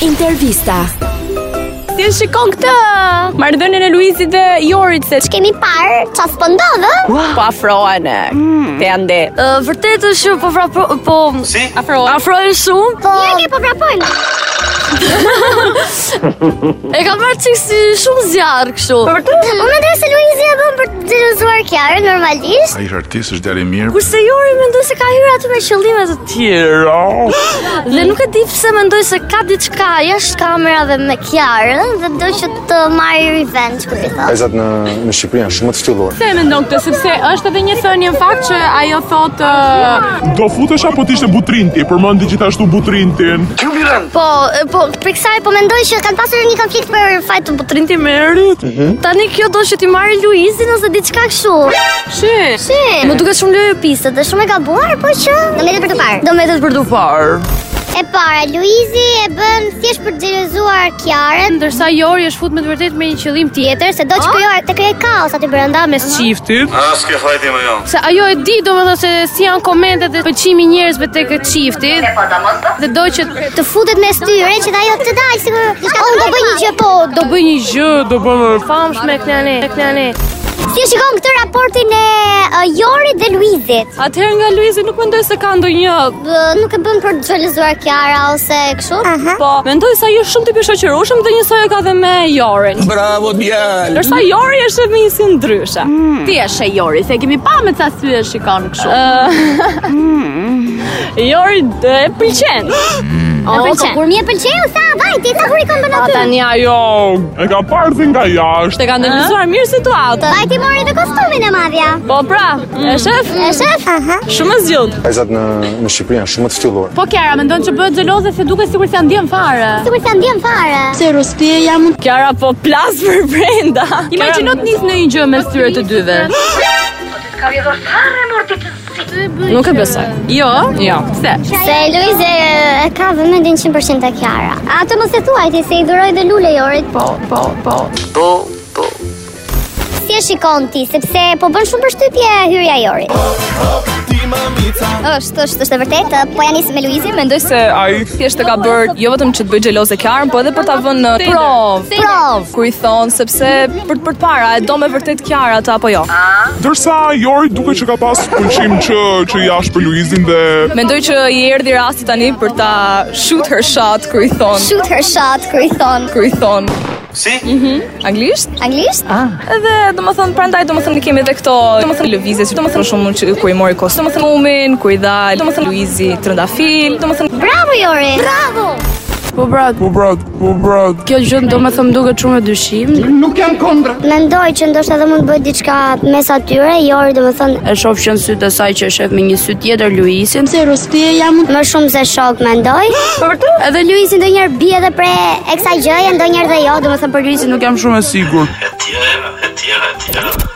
Intervista. Ti e shikon këtë marrëdhënien e Luizit dhe Jorit se çka Kemi parë qa s'po ndodhë po afrohen. Te ande. Ë, Vërtet është po vrapro, po Si? Afrohen. afrojnë shumë. Po Një një po vrapojnë E kam marrë çik si shumë zjarr kështu. Po Mhm. Unë mendoj se Luizi e bën për të xhelozuar Kiarën normalisht. Ai është artist, është djalë i mirë. Kurse Jori mendoj se ka hyrë aty me qëllime të tjera. Dhe nuk e di pse mendoj se ka diçka jashtë kamerave me Kiarën dhe do që të marrë revenge kur i thotë. Vajzat në në Shqipëri janë shumë të ftylluara. Pse e mendon këtë sepse është edhe një thënie në fakt që ajo thotë uh, Do futesh apo t'ishte butrinti, përmendi gjithashtu butrintin. Po, e, po për kësaj po mendoj që kanë pasur një konflikt për fajt të butrinti me Merit. Tani kjo do që ti marrë Luizin ose diçka kështu. "Shi, Shi, Më duket shumë lojë piste dhe shumë e gabuar, po që do merret për të parë. do metet për dufar. E para, Luizi e bën thjesht për të xhelozuar Kiarën, Ndërsa Jori është fut me të vërtet me një qëllim tjetër se se do të krijojë të krijojë kaos aty brenda mes çiftit. As ke fajti më jo. Se ajo e di domethënë se si janë komentet e pëlqimi i njerëzve tek çifti. Dhe po, do që të futet mes tyre që ajo të dalë sikur diçka unë do bëj një po, gjë po do do bëj një gjë, do bën famshme knane, knane. si e shikon këtë raportin e e, Jorit dhe Luizit atëherë nga Luizi nuk mendoj se ka ndonjë Bë, nuk e bën për të xhelizuar Kiara ose kështu Po, mendoj se ajo është shumë tipi shoqërueshëm dhe njësoj e ka dhe me Jorin. Bravo djalë. Ndërsa Jori është me një si ndryshe. Ti e she Jori, se e kemi pa me ca sy e shikon kështu. Ë, Jori e pëlqen. Po, e pëlqen kur mi e pëlqeu sa vajti sa kur i kanë bën aty Tani ajo E ka parë nga jashtë. Te ka ndërmisuar mirë situatën. vajti mori dhe kostumin e madhja Po pra, e shef, e shef aha shumë e zgjut. Vajzat në në Shqipëri janë shumë të ftylluara. Po Kiara mendon që bëhet xheloze se duket sikur se ndjen fare. sikur sa ndjen fare Kjara po plas për brenda. Imagjino të nis në një gjë mes tyre të dyve. Nuk e besoj. Jo? Jo. Pse? se Luizi e ka vëmendjen 100% te Kiara atë mos e thuaj ti se i dhuroi dhe lule Jorit po po po Po, po. si e shikon ti sepse po bën shumë përshtypje hyrja e Jorit është është është e vërtetë po ja nisëm me Luizin Mendoj se ai thjesht e ka bër jo vetëm që të bëj xheloze Kjarën, po edhe për ta vënë në provë. Provë. Kur i thon sepse për për para e do me vërtet Kjara atë apo jo. Dërsa Jori duke që ka pas pëlqim që që jashtë për Luizin dhe Mendoj që i erdhi rasti tani për ta shoot her shot kur i thon. Shoot her shot, kër i thonë Kur i thon Si? Mhm, anglisht, Anglisht? edhe domethën prandaj domethën ne kemi edhe këto domethën lëvizje, që domethën shumë që kur i mori kostum, domethën umin, kur i dal, domethën Luizi trëndafil, domethën Bravo, Jori! Bravo! Po brat, po brat, po brat. kjo gjë do më thëmë duket shumë e dyshim. Mendoj që ndoshta edhe mund të bëjë diçka mes atyre, Jori do më thonë E shoh që në sytë e saj që e shef me një sy tjetër Luisin. Se rostie jam më shumë se shok, mendoj. Edhe Luisi ndonjëherë bie edhe për e kësaj gjëje, ndonjëherë dhe jo, do më thonë për Luisin nuk jam shumë e sigurt. Etj, etj, etj.